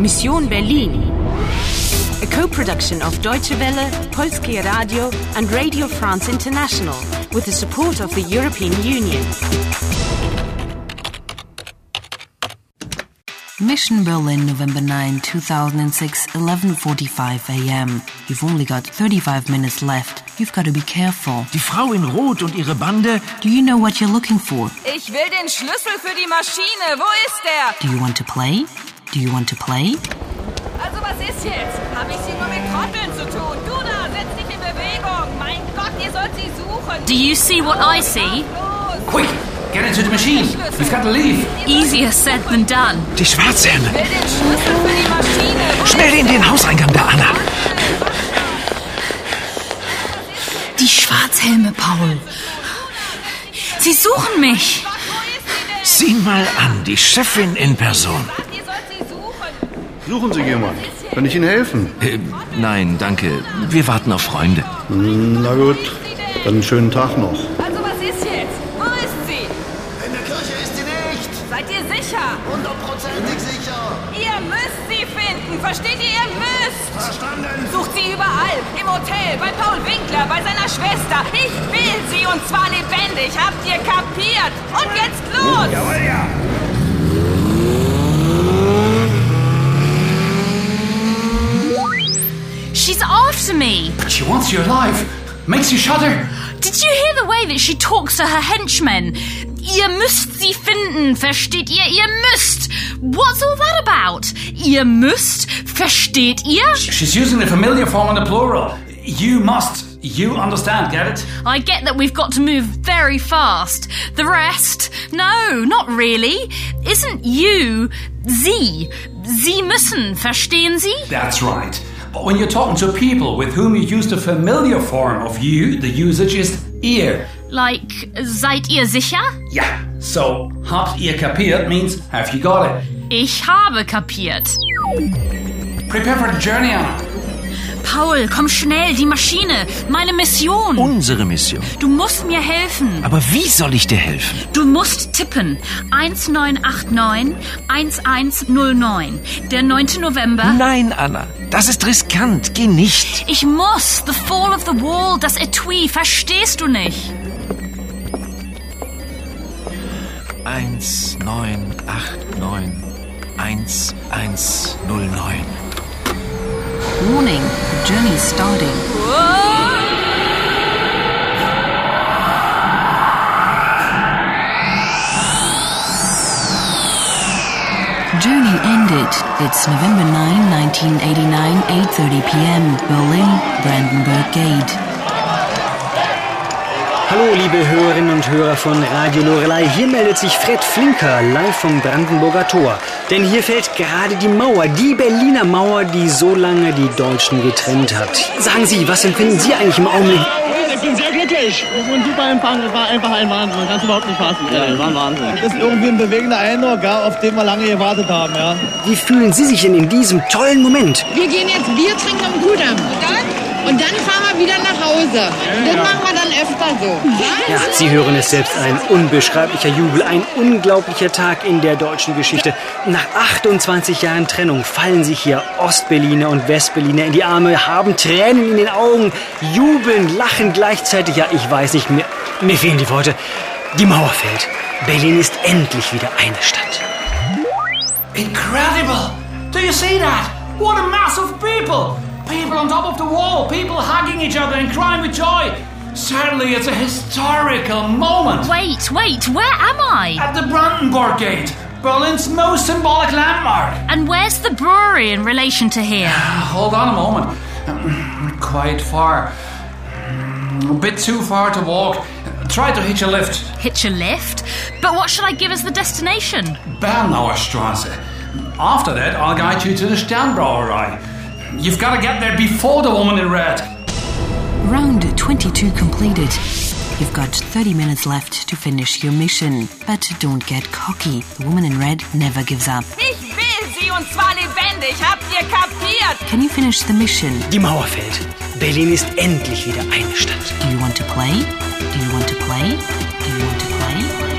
Mission Berlin. A co-production of Deutsche Welle, Polskie Radio and Radio France International with the support of the European Union. Mission Berlin, November 9, 2006, 11:45 a.m. You've only got 35 minutes left. You've got to be careful. Die Frau in Rot und ihre Bande. Do you know what you're looking for? Ich will den Schlüssel für die Maschine. Wo ist der? Do you want to play? Do you want to play? Also was ist jetzt? Habe ich hier nur mit Trotteln zu tun? Du da, setz dich in Bewegung. Mein Gott, ihr sollt sie suchen. Do you see what I see? Los. Quick, get into the machine. You've got to leave. Easier said than done. Die Schwarzhelme. Will den Schlüssel für die Maschine. Wo Schnell in den Hauseingang da, Anna. Die Schwarzhelme, Paul. Sie suchen mich. Sieh mal an, die Chefin in Person. ist- Ihr sollt sie suchen. Suchen Sie jemanden. Kann ich Ihnen helfen? Äh, nein, danke. Wir warten auf Freunde. Hm, Na gut, dann einen schönen Tag noch. Also was ist jetzt? Wo ist sie? In der Kirche ist sie nicht! Seid ihr sicher? Hundertprozentig sicher! Ihr müsst sie finden. Versteht ihr? Ihr müsst. Verstanden! Sucht sie überall. Im Hotel, bei Paul Winkler, bei seiner Schwester. Ich will sie und zwar lebendig. Habt ihr kapiert? Und jetzt los. Jawohl, ja! She's after me. She wants your life. Makes you shudder. Did you hear the way that she talks to her henchmen? Ihr müsst sie finden, versteht ihr? Ihr müsst. What's all that about? Ihr müsst, versteht ihr? She's using the familiar form in the plural. You must. You understand, get it? I get that we've got to move very fast. The rest? No, not really. Isn't you sie? Sie müssen, verstehen Sie? That's right. But when you're talking to people with whom you use the familiar form of you, the usage is ear. Like, seid ihr sicher? Yeah. So, habt ihr kapiert means have you got it? Ich habe kapiert. Prepare for the journey, Anna. Paul, komm schnell, die Maschine, meine Mission. Unsere Mission. Du musst mir helfen. Aber wie soll ich dir helfen? Du musst tippen. 1989 1109. Der 9. November. Nein, Anna. Das ist riskant. Geh nicht. Ich muss. The Fall of the Wall, das Etui. Verstehst du nicht? 1989 1109. Warning, the journey's starting. Journey ended. It's November 9, 1989, 8:30 p.m. Berlin, Brandenburg Gate. Hallo, liebe Hörerinnen und Hörer von Radio Lorelei. Hier meldet sich Fred Flinker live vom Brandenburger Tor. Denn hier fällt gerade die Mauer, die Berliner Mauer, die so lange die Deutschen getrennt hat. Sagen Sie, was empfinden Sie eigentlich im Augenblick? Ich bin sehr glücklich. Und super Empfang, das war einfach ein Wahnsinn. Man kann es überhaupt nicht fassen. Ja, das war ein Wahnsinn. Das ist irgendwie ein bewegender Eindruck, ja, auf den wir lange gewartet haben. Ja. Wie fühlen Sie sich denn in diesem tollen Moment? Wir gehen jetzt Bier trinken am Kudamm. Und dann? Und dann fahren wir wieder nach Hause. das machen wir dann öfter so. Ja, Sie hören es selbst, ein unbeschreiblicher Jubel, ein unglaublicher Tag in der deutschen Geschichte. Nach 28 Jahren Trennung fallen sich hier Ostberliner und Westberliner in die Arme, haben Tränen in den Augen, jubeln, lachen gleichzeitig. Ja, ich weiß nicht, mir, mir fehlen die Worte. Die Mauer fällt. Berlin ist endlich wieder eine Stadt. Incredible! Do you see that? What a mass of people! People on top of the wall, people hugging each other and crying with joy. Certainly, it's a historical moment. Wait, wait, where am I? At the Brandenburg Gate, Berlin's most symbolic landmark. And where's the brewery in relation to here? Hold on a moment. Mm, Quite far. Mm, A bit too far to walk. Try to hitch a lift. Hitch a lift? But what should I give as the destination? Bernauer Straße. After that, I'll guide you to the Sternbrauerei. You've got to get there before the woman in red. Round 22 completed. You've got 30 minutes left to finish your mission, but don't get cocky. The woman in red never gives up. Ich will sie und zwar lebendig. Habt ihr kapiert? Can you finish the mission? Die Mauer fällt. Berlin ist endlich wieder eine Stadt. Do you want to play? Do you want to play? Do you want to play?